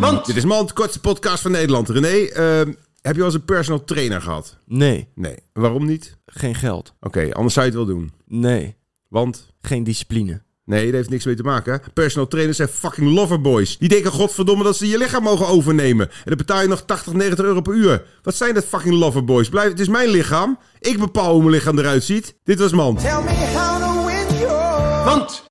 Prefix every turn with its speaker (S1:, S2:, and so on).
S1: Mand!
S2: Dit is Mand, kortste podcast van Nederland. René, ehm, heb je al eens een personal trainer gehad?
S3: Nee,
S2: Nee. Waarom niet?
S3: geen geld.
S2: Oké, anders zou je het wel doen.
S3: Nee,
S2: Want...
S3: geen discipline.
S2: Nee, daar heeft niks mee te maken. hè. Personal trainers zijn fucking loverboys. Die denken godverdomme dat ze je lichaam mogen overnemen. En dan betaal je nog 80, 90 euro per uur. Wat zijn dat fucking loverboys? Blijf, het is mijn lichaam. Ik bepaal hoe mijn lichaam eruit ziet. Dit was Mand.
S4: Tell me how to win your
S1: Mand!